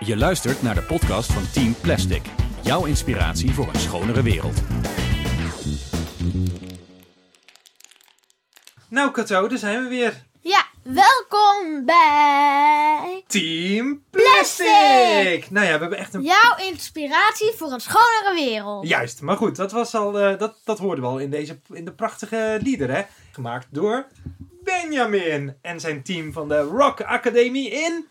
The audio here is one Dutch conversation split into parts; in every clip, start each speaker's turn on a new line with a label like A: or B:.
A: Je luistert naar de podcast van Team Plastic. Jouw inspiratie voor een schonere wereld.
B: Nou, Kato, daar zijn we weer.
C: Ja, welkom bij
B: Team Plastic!
C: Plastic!
B: Nou ja, we hebben echt een.
C: jouw inspiratie voor een schonere wereld.
B: Juist, maar goed, dat, was al, eh, dat, dat hoorden we al in, deze, in de prachtige lieder, hè? Gemaakt door Benjamin en zijn team van de Rock Academie in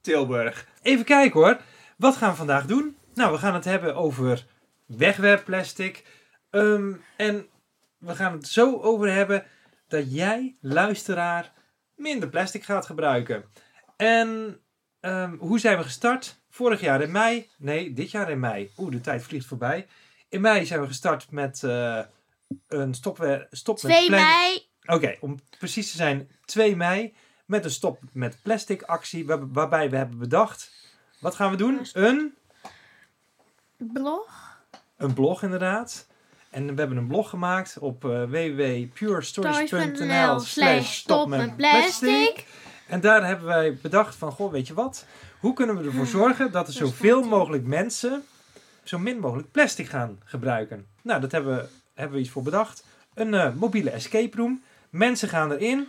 B: Tilburg. Even kijken hoor, wat gaan we vandaag doen? Nou, we gaan het hebben over wegwerpplastic. Ehm, en we gaan het zo over hebben dat jij, luisteraar, minder plastic gaat gebruiken. En Ehm, hoe zijn we gestart? Vorig jaar in mei. Nee, dit jaar in mei. Oeh, de tijd vliegt voorbij. In mei zijn we gestart met eh, een stop, stop met
C: 2
B: plan-
C: mei.
B: Oké, om precies te zijn, 2 mei. Met een stop met plastic actie. waar- waarbij we hebben bedacht. Wat gaan we doen? Een,
C: Blog.
B: een blog inderdaad. En we hebben een blog gemaakt op eh, www.purestories.nl
C: Stories.nl slash stop met plastic.
B: En daar hebben wij bedacht van, goh, weet je wat? Hoe kunnen we ervoor zorgen dat er
C: Ah, Dat is
B: zoveel
C: goed.
B: mogelijk mensen zo min mogelijk plastic gaan gebruiken? Nou, dat hebben we, hebben we iets voor bedacht. Een eh, mobiele escape room. Mensen gaan erin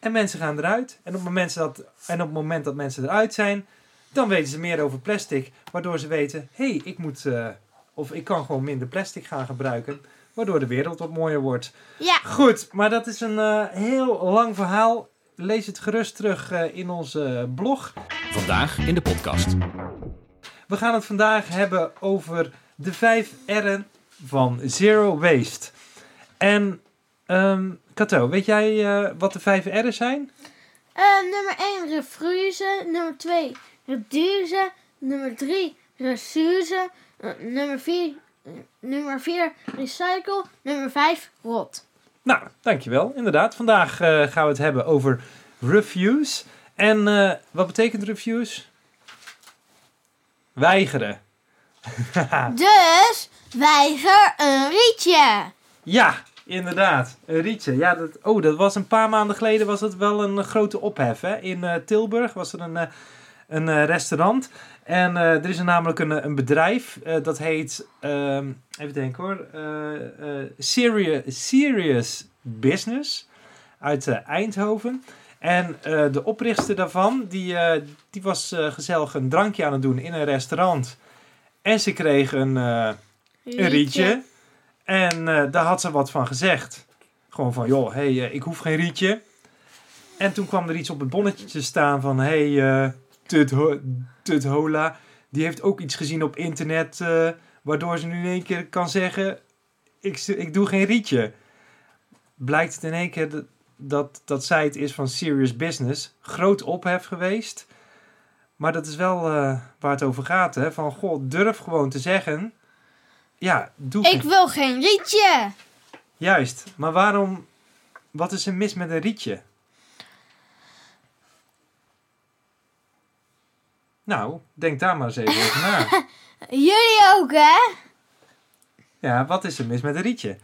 B: en mensen gaan eruit. En op, het moment dat, en op het moment dat mensen eruit zijn, dan weten ze meer over plastic. Waardoor ze weten, hé, hey, ik moet... eh, of ik kan gewoon minder plastic gaan gebruiken. Waardoor de wereld wat mooier wordt.
C: Ja,
B: Goed, maar dat is een eh, heel lang verhaal. Lees het gerust terug eh, in onze eh, blog.
A: Vandaag in de podcast.
B: We gaan het vandaag hebben over de vijf R'en van Zero Waste. En ehm Kato, weet jij eh, wat de vijf R'en zijn?
C: eh, nummer 1 refruze, nummer 2 reduce, nummer 3 resuze, eh, nummer 4 nummer 4 recycle, nummer 5 rot.
B: Nou, dankjewel. Inderdaad, vandaag eh, gaan we het hebben over refuse. En eh, wat betekent refuse? Weigeren.
C: Dus weiger een rietje.
B: Ja, inderdaad. Een rietje. Ja, dat, oh, dat was een paar maanden geleden was dat wel een eh, grote ophef. Hè? In eh, Tilburg was er een, eh, een eh, restaurant. En eh, er is er namelijk een, eh, een bedrijf. eh, dat heet, ehm, even denken hoor. eh, eh, Serious, Serious Business. Uit eh, Eindhoven. En eh, de oprichter daarvan, die, eh, die was eh, gezellig een drankje aan het doen in een restaurant. En ze kreeg een... eh, een rietje. En eh, daar had ze wat van gezegd. Gewoon van, joh, hey, eh, ik hoef geen rietje. En toen kwam er iets op het bonnetje te staan van, hé, hey, eh, Tut Ho- Tut Hola, die heeft ook iets gezien op internet, eh, waardoor ze nu in één keer kan zeggen, ik, s- ik doe geen rietje. Blijkt het in één keer dat, dat, dat zij het is van serious business. Groot ophef geweest. Maar dat is wel eh, waar het over gaat, hè. Van, goh, durf gewoon te zeggen, ja, doe geen
C: Ik wil geen rietje.
B: Juist, maar waarom? Wat is er mis met een rietje? Nou, denk daar maar eens even over na.
C: Jullie ook, hè?
B: Ja, wat is er mis met een rietje?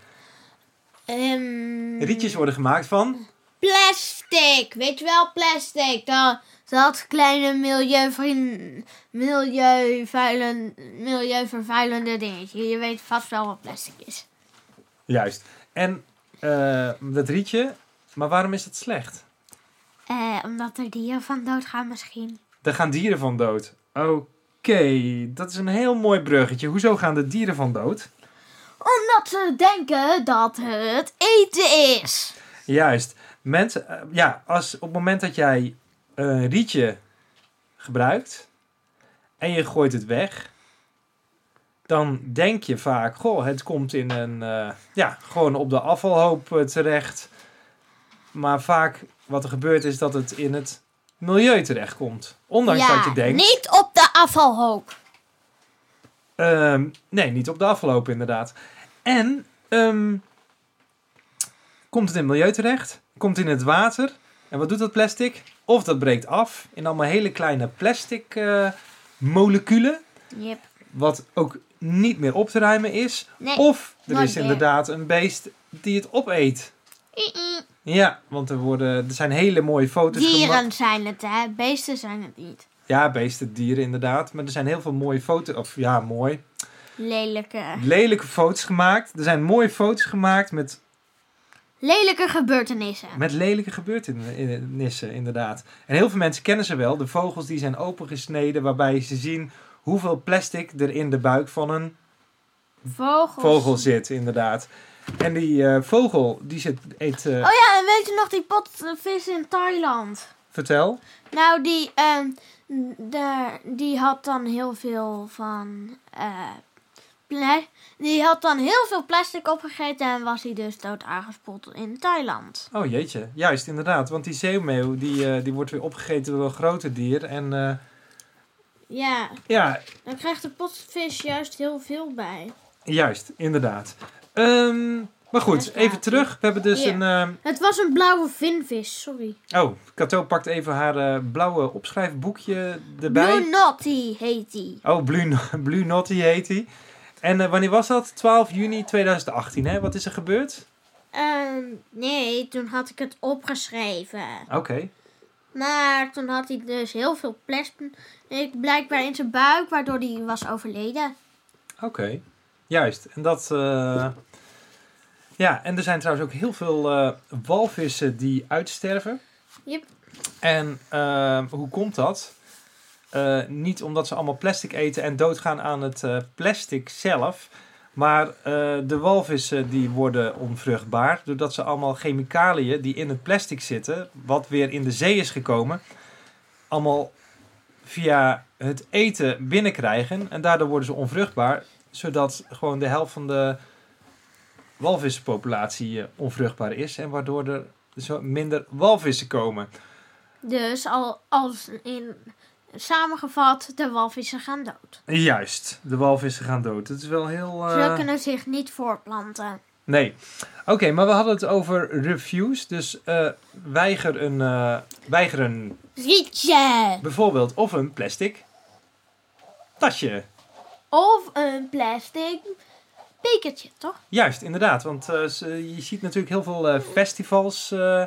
C: Ehm,
B: Rietjes worden gemaakt van.
C: Plastic, weet je wel, plastic. Dat, dat kleine milieuvriend, milieuvuilen, milieuvervuilende dingetje. Je weet vast wel wat plastic is.
B: Juist. En eh, dat rietje, maar waarom is dat slecht?
C: Eh, omdat er dieren van doodgaan misschien.
B: Daar gaan dieren van dood. Oké, dat is een heel mooi bruggetje. Hoezo gaan de dieren van dood?
C: Omdat ze denken dat het eten is.
B: Juist. Mensen, eh, ja, als op het moment dat jij een rietje gebruikt en je gooit het weg, dan denk je vaak, goh, het komt in een, eh, ja, gewoon op de afvalhoop eh, terecht. Maar vaak wat er gebeurt is dat het in het milieu terechtkomt. Ondanks
C: ja,
B: dat je denkt,
C: niet op de afvalhoop.
B: Ehm, nee, niet op de afloop inderdaad. En ehm, komt het in het milieu terecht? Komt het in het water? En wat doet dat plastic? Of dat breekt af in allemaal hele kleine plastic eh, moleculen,
C: Yep.
B: wat ook niet meer op te ruimen is.
C: Nee.
B: of er
C: nooit
B: is
C: meer.
B: inderdaad een beest die het opeet.
C: Mm-mm.
B: Ja, want er, worden, er zijn hele mooie foto's gemaakt.
C: Dieren zijn het, hè? Beesten zijn het niet.
B: Ja, beesten, dieren inderdaad. Maar er zijn heel veel mooie foto's. Of ja, mooi.
C: Lelijke.
B: Lelijke foto's gemaakt. Er zijn mooie foto's gemaakt met
C: Lelijke gebeurtenissen.
B: Met lelijke gebeurtenissen, inderdaad. En heel veel mensen kennen ze wel. De vogels die zijn opengesneden, waarbij ze zien hoeveel plastic er in de buik van een
C: Vogels.
B: vogel zit, inderdaad. En die eh, vogel, die zit, eet... eh,
C: Oh ja, en weet je nog die potvis in Thailand?
B: Vertel.
C: Nou, die, ehm, de, die had dan heel veel van. eh, pla- die had dan heel veel plastic opgegeten en was hij dus dood aangespoeld in Thailand.
B: Oh jeetje, juist, inderdaad. Want die zeemeeuw, die, eh, die wordt weer opgegeten door een grote dier. En eh,
C: Ja,
B: ja,
C: dan krijgt de potvis juist heel veel bij.
B: juist, inderdaad. Ehm, maar goed, even terug. We hebben dus
C: Ja.
B: een... ehm,
C: Het was een blauwe vinvis, sorry.
B: Oh, Cato pakt even haar eh, blauwe opschrijfboekje erbij.
C: Blue Notty heet die.
B: Oh, Blue, Blue Naughty heet hij. En eh, wanneer was dat? 12 juni 2018, hè? Wat is er gebeurd?
C: Ehm, nee, toen had ik het opgeschreven.
B: Oké.
C: Maar toen had hij dus heel veel plastic blijkbaar in zijn buik, waardoor hij was overleden.
B: Oké. Juist. En dat... eh, Ja, en er zijn trouwens ook heel veel eh, walvissen die uitsterven.
C: Yep.
B: En eh, hoe komt dat? Eh, niet omdat ze allemaal plastic eten en doodgaan aan het eh, plastic zelf. Maar eh, de walvissen die worden onvruchtbaar. Doordat ze allemaal chemicaliën die in het plastic zitten. Wat weer in de zee is gekomen. Allemaal via het eten binnenkrijgen. En daardoor worden ze onvruchtbaar. Zodat gewoon de helft van de walvissenpopulatie eh, onvruchtbaar is. En waardoor er zo minder walvissen komen.
C: Dus al, als in samengevat, de walvissen gaan dood.
B: Juist, de walvissen gaan dood. Het is wel heel. eh,
C: Ze kunnen zich niet voortplanten.
B: Nee. Oké, maar we hadden het over reviews. Dus eh, weiger, een, eh, weiger een,
C: Rietje!
B: bijvoorbeeld, of een plastic tasje.
C: Of een plastic bekertje, toch?
B: Juist, inderdaad. Want eh, ze- je ziet natuurlijk heel veel eh, festivals. eh,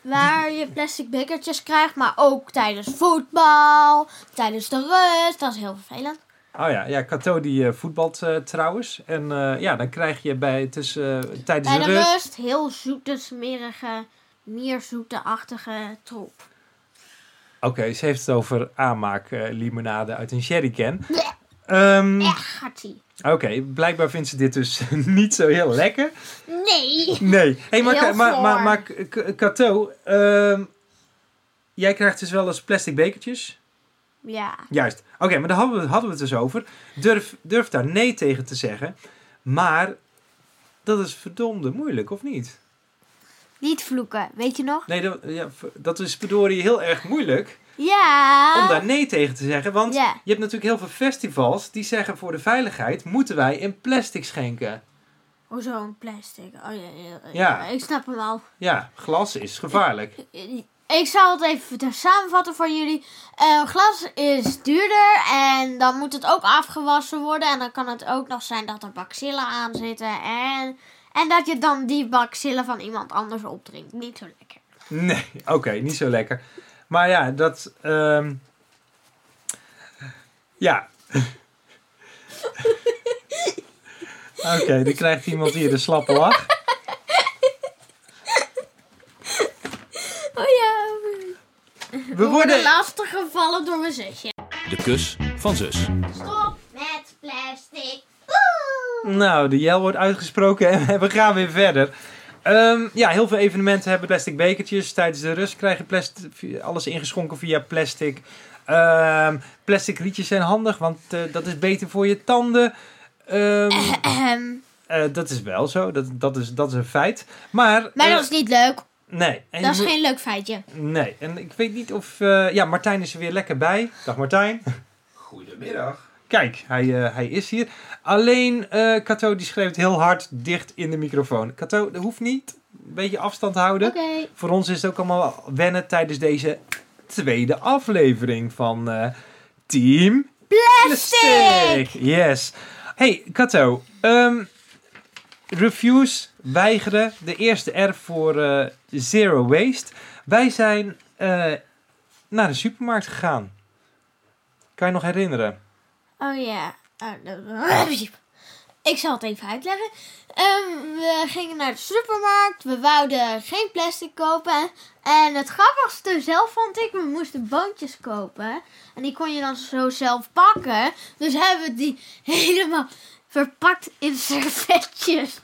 C: Waar je plastic bekertjes krijgt, maar ook tijdens voetbal, tijdens de rust. Dat is heel vervelend.
B: Oh ja, ja Cato die eh, voetbalt eh, trouwens. En eh, ja, dan krijg je bij, tussen, eh, tijdens
C: Bij
B: de
C: de
B: rust...
C: rust heel zoete, smerige, meer zoete-achtige troep.
B: Oké, ze heeft het over aanmaak eh, limonade uit een sherrycan.
C: Blech.
B: Ehm,
C: Echt gaat ie.
B: Oké, blijkbaar vindt ze dit dus niet zo heel lekker.
C: Nee!
B: Nee. Hey, maar,
C: Heel
B: maar, maar,
C: goor.
B: maar K- K- Kato, ehm, jij krijgt dus wel eens plastic bekertjes?
C: Ja.
B: Juist. Oké, maar daar hadden we, hadden we het dus over. Durf, durf daar nee tegen te zeggen. Maar dat is verdomde moeilijk, of niet?
C: Niet vloeken, weet je nog?
B: Nee, dat, ja, v- dat is verdorie heel erg moeilijk
C: Ja!
B: om daar nee tegen te zeggen. Want
C: Ja.
B: je hebt natuurlijk heel veel festivals die zeggen voor de veiligheid moeten wij in plastic schenken.
C: Oh, zo'n plastic. Oh, ja, ja, ja.
B: Ja.
C: Ik snap hem al.
B: Ja, glas is gevaarlijk.
C: Ik zal het even samenvatten voor jullie. Eh, glas is duurder en dan moet het ook afgewassen worden. En dan kan het ook nog zijn dat er bacillen aan zitten. En, en dat je dan die bacillen van iemand anders opdrinkt. Niet zo lekker.
B: Nee, oké, niet zo lekker. Maar ja, dat. ehm, Ja. oké, dan krijgt iemand hier de slappe lach.
C: Oh ja.
B: We worden.
C: lastig gevallen door mijn zusje.
A: De kus van zus.
C: Stop met plastic.
B: Nou, de jel wordt uitgesproken en we gaan weer verder. Ehm, ja, heel veel evenementen hebben plastic bekertjes. Tijdens de rust krijgen plastic, alles ingeschonken via plastic. Ehm, plastic rietjes zijn handig, want eh, dat is beter voor je tanden. Ehm Eh, dat is wel zo, dat, dat, is, dat is een feit. Maar.
C: Maar
B: eh,
C: dat is niet leuk.
B: Nee. En
C: Dat is
B: je moet-
C: geen leuk feitje.
B: Nee. En ik weet niet of. eh, ja, Martijn is er weer lekker bij. Dag Martijn.
D: Goedemiddag.
B: Kijk, hij, eh, hij is hier. Alleen eh Cato die schreeuwt heel hard dicht in de microfoon. Cato, dat hoeft niet. Een beetje afstand houden. Voor ons is het ook allemaal wennen tijdens deze tweede aflevering van eh, Team Plastic. Yes. Hey, Kato. ehm, reviews weigeren. De eerste R voor eh, Zero Waste. Wij zijn eh, naar de supermarkt gegaan. Kan je nog herinneren?
C: Oh ja. Oh, dat- Ik zal het even uitleggen. Ehm, we gingen naar de supermarkt. We wouden geen plastic kopen. En het grappigste zelf vond ik, we moesten boontjes kopen. En die kon je dan zo zelf bakken. Dus hebben we die helemaal verpakt in servetjes.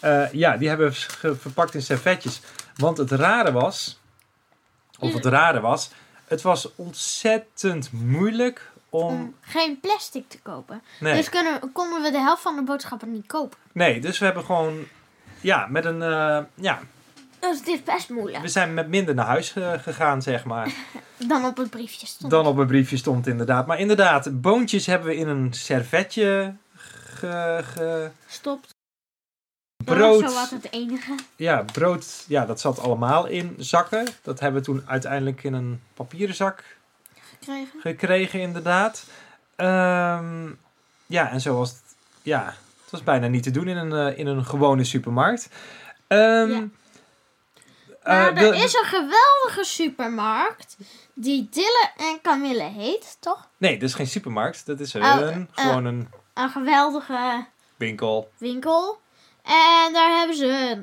B: Eh, ja, die hebben we vers- ge- verpakt in servetjes. Want het rare was, of het rare was, het was ontzettend moeilijk om.
C: Om geen plastic te kopen.
B: Nee.
C: Dus kunnen, konden we de helft van de boodschappen niet kopen.
B: Nee, dus we hebben gewoon. Ja, met een. eh, ja,
C: Dus dit is best
B: we
C: moeilijk.
B: zijn met minder naar huis eh, gegaan, zeg maar.
C: Dan op het briefje stond.
B: Dan op een briefje stond, inderdaad. Maar inderdaad, boontjes hebben we in een servetje ge. ge-
C: Stopt.
B: brood.
C: Zo was het enige.
B: Ja, brood. Ja, dat zat allemaal in zakken. Dat hebben we toen uiteindelijk in een papieren zak
C: Gekregen.
B: gekregen, inderdaad. Ehm, ja, en zo was het. Ja, het was bijna niet te doen in een, eh, in een gewone supermarkt. Ehm,
C: Ja.
B: eh,
C: Maar
B: wil-
C: Nou, er is een geweldige supermarkt die Dille en Camille heet, toch?
B: Nee, dat is geen supermarkt. Dat is een,
C: Oh, eh,
B: gewoon een
C: Een geweldige
B: winkel.
C: winkel. En daar hebben ze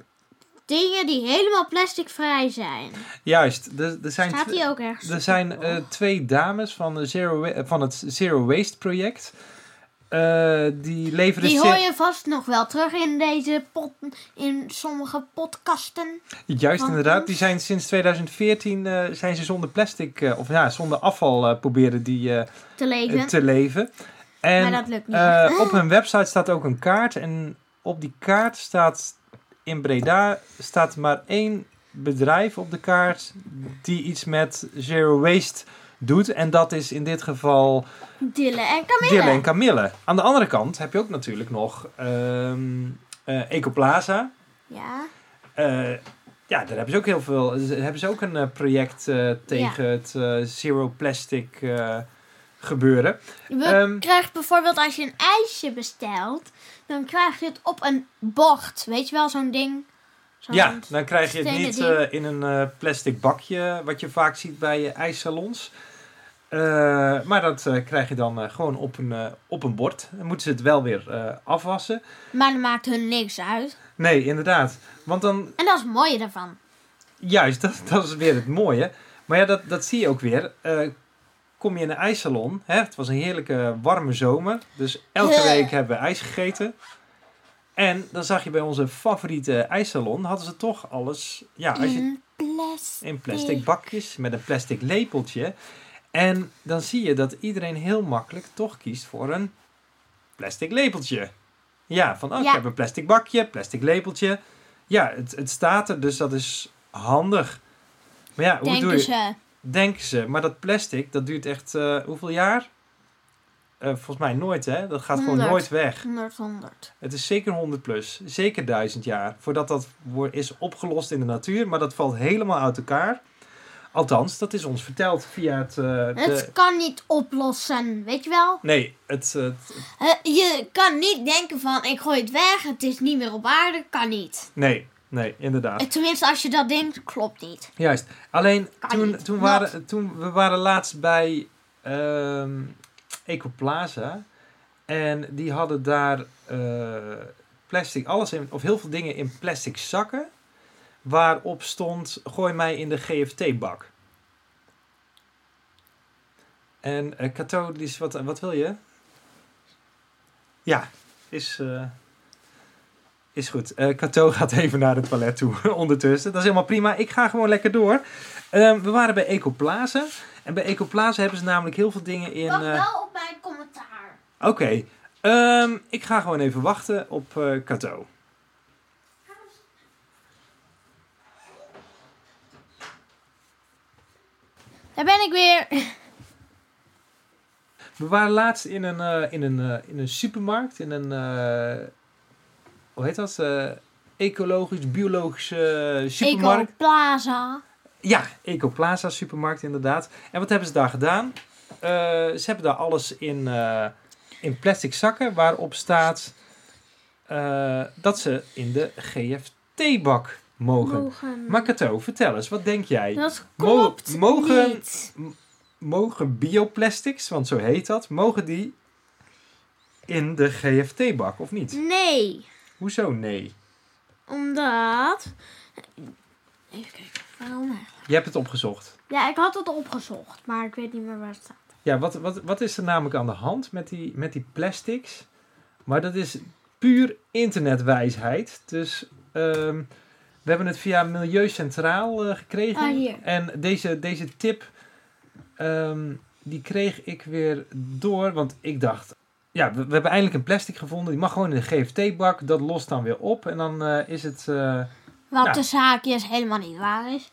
C: dingen die helemaal plasticvrij zijn.
B: Juist, er, er zijn,
C: Staat
B: twe-
C: die ook ergens?
B: er zijn eh, twee dames van, de Zero, Wa- eh, van het Zero Waste project. Eh, die leveren
C: die
B: cir-
C: hoor je vast nog wel terug in deze pot, in sommige podcasten.
B: Juist
C: Want
B: inderdaad,
C: ons-
B: die zijn sinds 2014 eh, zijn ze zonder plastic, eh, of ja, zonder afval eh, proberen die eh,
C: Te
B: eh,
C: lezen.
B: te leven. En
C: maar dat lukt niet.
B: eh, op hun website staat ook een kaart. En op die kaart staat in Breda staat maar één bedrijf op de kaart die iets met zero waste doet. En dat is in dit geval
C: Dille en Camille.
B: Dille en Camille. Aan de andere kant heb je ook natuurlijk nog ehm, eh, Ecoplaza.
C: Ja.
B: Eh, ja, daar hebben ze ook heel veel. ze- Hebben ze ook een eh, project eh, tegen het eh, zero plastic eh, gebeuren.
C: We
B: Ehm.
C: krijgen bijvoorbeeld als je een ijsje bestelt, dan krijg je het op een bocht. Weet je wel, zo'n ding. Zo'n
B: Ja, dan krijg je het
C: stenen
B: niet
C: ding.
B: eh, in een eh, plastic bakje, wat je vaak ziet bij eh, ijssalons. Eh, maar dat eh, krijg je dan eh, gewoon op een, eh, op een bord. Dan moeten ze het wel weer eh, afwassen.
C: Maar dat maakt hun niks uit.
B: Nee, inderdaad. Want dan,
C: En dat is het mooie daarvan.
B: juist, dat, dat is weer het mooie. Maar ja, dat, dat zie je ook weer. Eh, kom je in een ijssalon, hè? het was een heerlijke warme zomer. Dus elke
C: Huh.
B: week hebben we ijs gegeten. En dan zag je bij onze favoriete ijssalon, hadden ze toch alles... Ja, als je
C: In plastic.
B: in plastic bakjes met een plastic lepeltje. En dan zie je dat iedereen heel makkelijk toch kiest voor een plastic lepeltje. Ja, van oh, ik
C: Ja.
B: heb een plastic bakje, plastic lepeltje. Ja, het, het staat er, dus dat is handig. Maar ja, hoe doe
C: Denken
B: je?
C: ze.
B: Denken ze. Maar dat plastic, dat duurt echt eh, hoeveel jaar? Eh, volgens mij nooit, hè? Dat gaat gewoon
C: Honderd.
B: nooit weg.
C: 100, 100.
B: Het is zeker 100 plus, zeker 1000 jaar voordat dat wo- is opgelost in de natuur, maar dat valt helemaal uit elkaar. Althans, dat is ons verteld via het. eh, de...
C: Het kan niet oplossen, weet je wel?
B: Nee, het, eh, het-
C: Eh, Je kan niet denken van, ik gooi het weg, het is niet meer op aarde, kan niet.
B: Nee, nee, inderdaad.
C: Eh, Tenminste, als je dat denkt, klopt niet.
B: Juist. Alleen
C: Kan
B: toen,
C: niet.
B: toen,
C: Nat.
B: waren, toen we waren laatst bij ehm Ecoplaza. En die hadden daar eh, plastic, alles in, of heel veel dingen in plastic zakken. Waarop stond: gooi mij in de GFT-bak. En eh Cato, die is wat, wat wil je? Ja, is. eh, is goed. Eh Cato gaat even naar het toilet toe ondertussen. Dat is helemaal prima. Ik ga gewoon lekker door. Ehm, we waren bij Ecoplaza. En bij Ecoplaza hebben ze namelijk heel veel dingen in...
C: Wacht
B: eh,
C: wel op mijn commentaar.
B: Oké. Ehm, ik ga gewoon even wachten op eh Cato.
C: Daar ben ik weer.
B: We waren laatst in een, eh, in een, eh, in een supermarkt. In een... eh, hoe heet dat? Eh, ecologisch, biologische eh, supermarkt.
C: Ecoplaza.
B: Ja, Ecoplaza supermarkt inderdaad. En wat hebben ze daar gedaan? Eh, ze hebben daar alles in, eh, in plastic zakken waarop staat eh, dat ze in de GFT-bak mogen.
C: Mogen.
B: Maar Cato, vertel eens, wat denk jij?
C: Dat
B: Mo-
C: klopt
B: mogen-
C: niet.
B: mogen bioplastics, want zo heet dat, mogen die in de GFT-bak of niet?
C: Nee,
B: Hoezo nee?
C: omdat... Even kijken, waarom eigenlijk?
B: Je hebt het opgezocht.
C: Ja, ik had het opgezocht, maar ik weet niet meer waar het staat.
B: Ja, wat, wat, wat is er namelijk aan de hand met die, met die plastics? Maar dat is puur internetwijsheid. Dus ehm, we hebben het via Milieu Centraal eh, gekregen.
C: Ah, hier.
B: En deze, deze tip, ehm, die kreeg ik weer door. Want ik dacht, ja, we, we hebben eindelijk een plastic gevonden. Die mag gewoon in de GFT-bak. Dat lost dan weer op. En dan eh, is het... eh,
C: Wat
B: Ja.
C: de zaakjes helemaal niet waar is.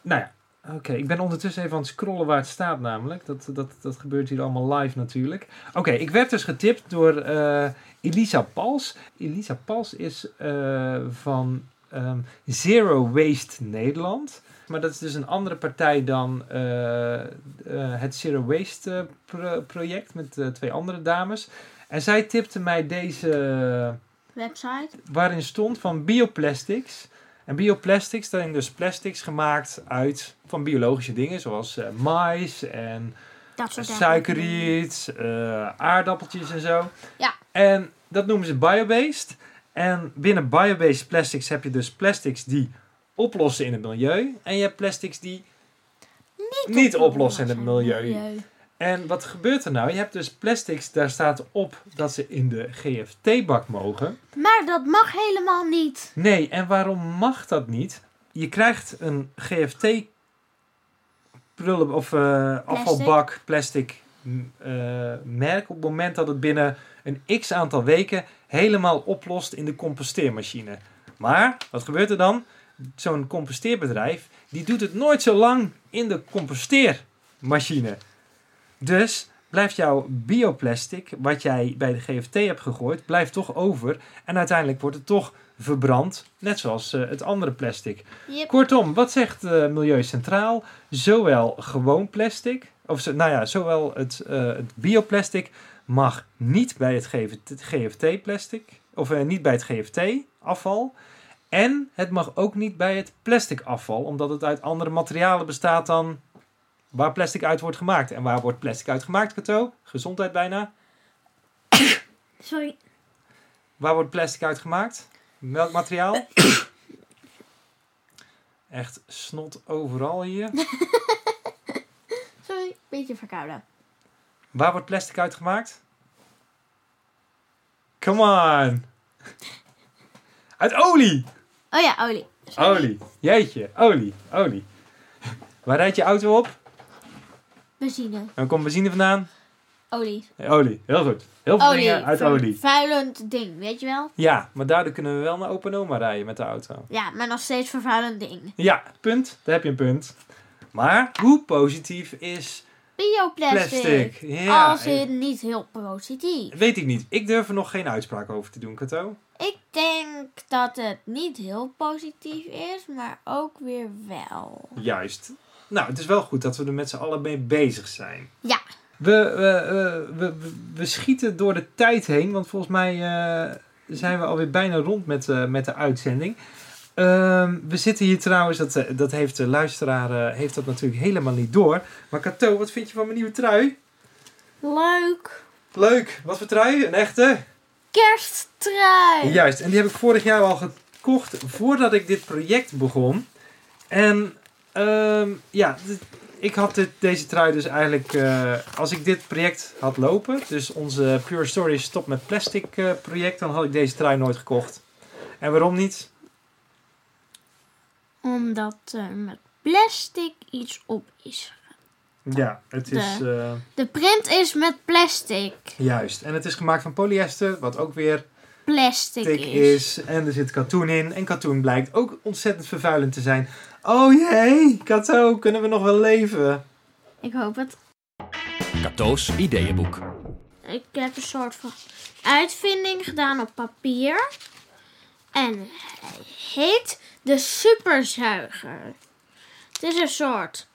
B: nou ja, oké. Ik ben ondertussen even aan het scrollen waar het staat namelijk. Dat, dat, dat gebeurt hier allemaal live natuurlijk. Oké, ik werd dus getipt door eh, Elisa Pals. Elisa Pals is eh, van ehm, Zero Waste Nederland. Maar dat is dus een andere partij dan eh, eh, het Zero Waste eh, pro- project met eh, twee andere dames. En zij tipte mij deze
C: Website.
B: waarin stond van bioplastics. En bioplastics, daarin dus plastics gemaakt uit van biologische dingen, zoals eh, mais en
C: Dat soort dingen.
B: suikerriet, eh, aardappeltjes en zo.
C: Ja.
B: En dat noemen ze biobased. En binnen biobased plastics heb je dus plastics die oplossen in het milieu. En je hebt plastics die niet, oplossen in het milieu. En wat gebeurt er nou? Je hebt dus plastics, daar staat op dat ze in de GFT-bak mogen.
C: Maar dat mag helemaal niet.
B: Nee, en waarom mag dat niet? Je krijgt een GFT prullen of eh, afvalbak plastic m, eh, merk op het moment dat het binnen een x aantal weken helemaal oplost in de composteermachine. Maar wat gebeurt er dan? Zo'n composteerbedrijf die doet het nooit zo lang in de composteermachine. Dus blijft jouw bioplastic wat jij bij de GFT hebt gegooid blijft toch over en uiteindelijk wordt het toch verbrand, net zoals eh, het andere plastic.
C: Yep.
B: Kortom, wat zegt eh, Milieu Centraal? Zowel gewoon plastic, of zo- nou ja, zowel het, eh, het bioplastic mag niet bij het GFT-plastic, of eh, niet bij het GFT-afval. En het mag ook niet bij het plastic afval, omdat het uit andere materialen bestaat dan waar plastic uit wordt gemaakt. En waar wordt plastic uit gemaakt, Cato? Gezondheid bijna.
C: Sorry.
B: Waar wordt plastic uit gemaakt? Welk materiaal? Echt snot overal hier.
C: Sorry. Beetje verkouden.
B: Waar wordt plastic uit gemaakt? Come on! Uit olie!
C: Oh ja, olie. Sorry.
B: Olie. Jeetje, olie, olie. Waar rijdt je auto op?
C: Benzine.
B: Dan komt benzine vandaan.
C: Olie.
B: Eh, Olie, heel goed. Heel veel
C: Olie.
B: dingen uit
C: Ver-
B: olie.
C: Vervuilend ding, weet je wel?
B: Ja, maar daardoor kunnen we wel naar opa en oma rijden met de auto.
C: Ja, maar nog steeds vervuilend ding.
B: Ja, punt. Daar heb je een punt. Maar hoe positief is
C: Bioplastic.
B: plastic? Ja, eh,
C: Als het niet heel positief.
B: weet ik niet. Ik durf er nog geen uitspraak over te doen, Kato.
C: Ik denk dat het niet heel positief is, maar ook weer wel.
B: Juist. Nou, het is wel goed dat we er met z'n allen mee bezig zijn.
C: Ja.
B: We, we, we, we, we schieten door de tijd heen, want volgens mij eh, zijn we alweer bijna rond met, eh, met de uitzending. Ehm, we zitten hier trouwens, dat, eh, dat heeft de luisteraar eh, heeft dat natuurlijk helemaal niet door. Maar Kato, wat vind je van mijn nieuwe trui?
C: Leuk.
B: Leuk, wat voor trui? Een echte?
C: Kersttrui.
B: Juist, en die heb ik vorig jaar al gekocht voordat ik dit project begon. En ehm, ja, d- ik had dit, deze trui dus eigenlijk, eh, als ik dit project had lopen, dus onze Pure Story Stop met Plastic eh, project, dan had ik deze trui nooit gekocht. En waarom niet?
C: Omdat er met plastic iets op is.
B: Ja, het is eh,
C: De print is met plastic.
B: juist. En het is gemaakt van polyester, wat ook weer
C: Plastic
B: dik
C: is.
B: is. En er zit katoen in. En katoen blijkt ook ontzettend vervuilend te zijn. Oh jee, Kato, kunnen we nog wel leven?
C: Ik hoop het.
A: Cato's ideeënboek.
C: Ik heb een soort van uitvinding gedaan op papier. En hij heet de superzuiger. Het is een soort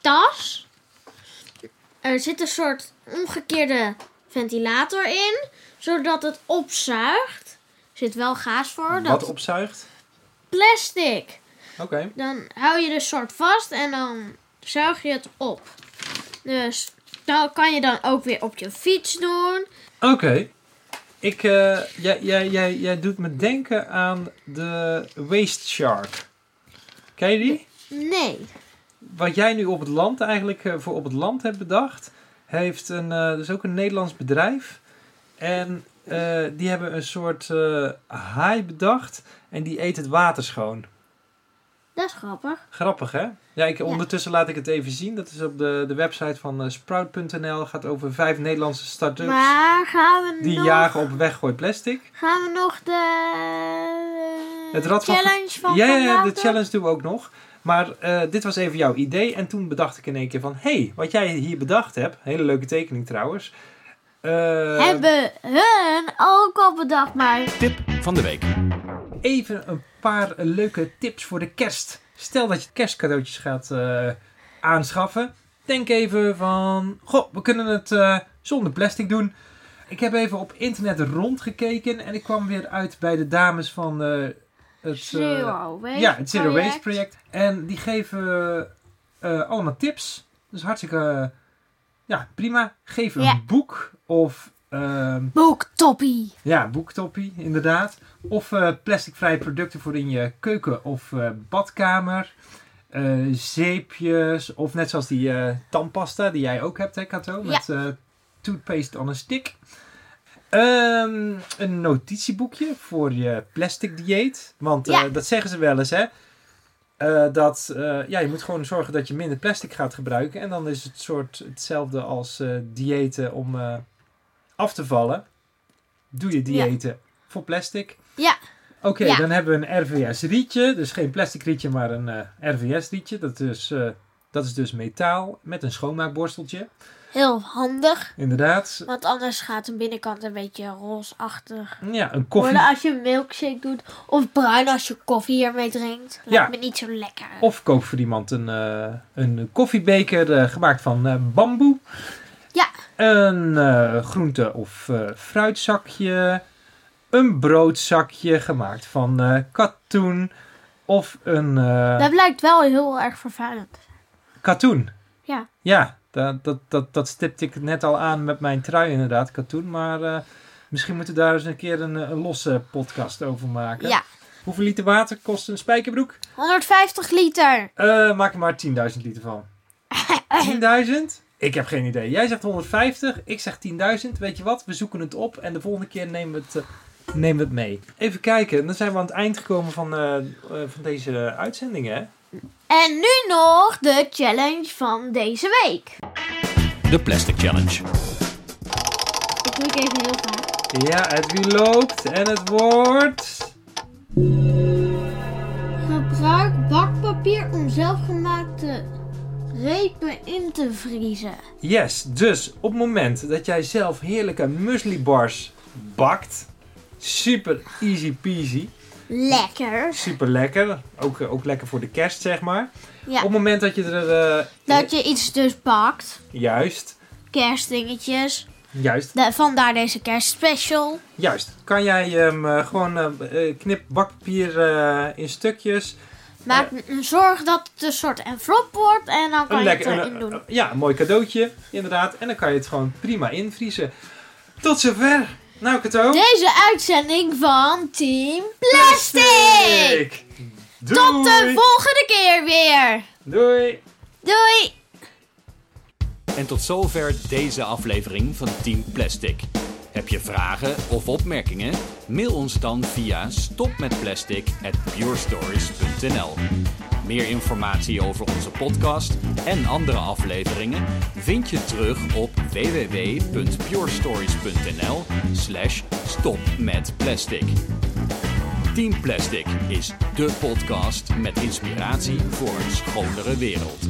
C: tas. Er zit een soort omgekeerde ventilator in, zodat het opzuigt. Er zit wel gaas voor.
B: Wat
C: Dat
B: opzuigt?
C: plastic.
B: Oké.
C: Dan hou je dus soort vast en dan zuig je het op. Dus dat kan je dan ook weer op je fiets doen.
B: Oké. Ik, eh, jij, jij, jij, jij doet me denken aan de Waste Shark. Ken je die?
C: Nee.
B: Wat jij nu op het land eigenlijk eh, voor op het land hebt bedacht, heeft een, eh dus ook een Nederlands bedrijf. En eh, die hebben een soort eh, haai bedacht en die eet het water schoon.
C: Dat is grappig.
B: Grappig, hè? Ja, ik, ondertussen laat ik het even zien. Dat is op de, de website van eh, sprout.nl. Gaat over vijf Nederlandse start-ups
C: Maar gaan we
B: Dus die
C: nog...
B: jagen op weggooid plastic.
C: Gaan we nog de... eh,
B: Het Rad van
C: challenge van
B: ja, ja,
C: vandaag
B: ja, de
C: doen?
B: challenge doen we ook nog. Maar eh, dit was even jouw idee. En toen bedacht ik in één keer van... Hé, hey, wat jij hier bedacht hebt. Hele leuke tekening trouwens. eh,
C: Hebben hun ook al bedacht, maar...
A: Tip van de week.
B: Even een paar leuke tips voor de kerst. Stel dat je kerstcadeautjes gaat eh, aanschaffen. Denk even van... Goh, we kunnen het eh, zonder plastic doen. Ik heb even op internet rondgekeken. En ik kwam weer uit bij de dames van... eh, het, eh,
C: Zero Waste
B: Ja, het Zero
C: project.
B: Waste project. En die geven eh, eh, allemaal tips. Dus hartstikke eh, ja, prima. Geef een
C: Ja.
B: boek of ehm,
C: Boektoppie.
B: ja, boektoppie inderdaad. Of eh, plasticvrije producten voor in je keuken of eh, badkamer. Eh, zeepjes of net zoals die eh, tandpasta die jij ook hebt, hè Kato? Met eh, toothpaste on a stick. Ehm, een notitieboekje voor je plastic dieet. Want eh,
C: Ja.
B: dat zeggen ze wel eens, hè? Eh, dat eh, ja, je moet gewoon zorgen dat je minder plastic gaat gebruiken. En dan is het soort hetzelfde als eh diëten om eh, af te vallen. Doe je diëten voor plastic.
C: Ja.
B: Oké,
C: Ja.
B: dan hebben we een RVS-rietje. Dus geen plastic rietje, maar een eh, RVS-rietje. Dat, is, eh, dat is dus metaal met een schoonmaakborsteltje.
C: Heel handig.
B: Inderdaad.
C: Want anders gaat de binnenkant een beetje roosachtig
B: Ja, een koffie.
C: worden als je een milkshake doet. Of bruin als je koffie hiermee drinkt. Lijkt
B: Ja.
C: me niet zo lekker.
B: Of koop voor iemand een, eh, een koffiebeker eh, gemaakt van eh, bamboe.
C: Ja.
B: Een eh, groente- of eh, fruitzakje. Een broodzakje gemaakt van eh, katoen. Of een eh,
C: Dat blijkt wel heel erg vervuilend.
B: katoen.
C: Ja.
B: Ja, dat, dat, dat, dat stipte ik net al aan met mijn trui inderdaad, katoen. Maar eh, misschien moeten we daar eens een keer een, eh, een losse podcast over maken.
C: Ja.
B: Hoeveel liter water kost een spijkerbroek?
C: 150 liter.
B: Eh, maak er maar 10.000 liter van. 10.000? Ik heb geen idee. Jij zegt 150, ik zeg 10.000. Weet je wat? We zoeken het op en de volgende keer nemen we het, eh, nemen we het mee. Even kijken, dan zijn we aan het eind gekomen van, eh, eh, van deze uitzending, hè?
C: En nu nog de challenge van deze week.
A: De Plastic Challenge.
C: Ik doe ik even heel vaak.
B: Ja, het wiel loopt en het wordt...
C: Gebruik bakpapier om zelfgemaakte repen in te vriezen.
B: Yes, dus op het moment dat jij zelf heerlijke muesli bars bakt, super easy peasy,
C: Lekker.
B: super lekker, ook, eh, ook lekker voor de kerst zeg maar.
C: Ja.
B: Op het moment dat je er, eh,
C: Dat je iets dus bakt.
B: juist,
C: Kerstdingetjes.
B: juist,
C: Da- vandaar deze kerstspecial.
B: juist, kan jij hem eh, gewoon eh, eh, knip bakpapier eh, in stukjes,
C: Maak een zorg dat het een soort envelop wordt. En dan kan
B: een
C: je
B: lekker,
C: het erin
B: een-
C: doen.
B: ja, een mooi cadeautje inderdaad, en dan kan je het gewoon prima invriezen. Tot zover, nou Kato.
C: Deze uitzending van Team Plastic.
B: Doei.
C: Tot de volgende keer weer.
B: Doei!
C: Doei.
A: En tot zover deze aflevering van Team Plastic. Heb je vragen of opmerkingen? Mail ons dan via stopmetplastic@purestories.nl. Meer informatie over onze podcast en andere afleveringen vind je terug op www.purestories.nl/stopmetplastic. Team Plastic is de podcast met inspiratie voor een schonere wereld.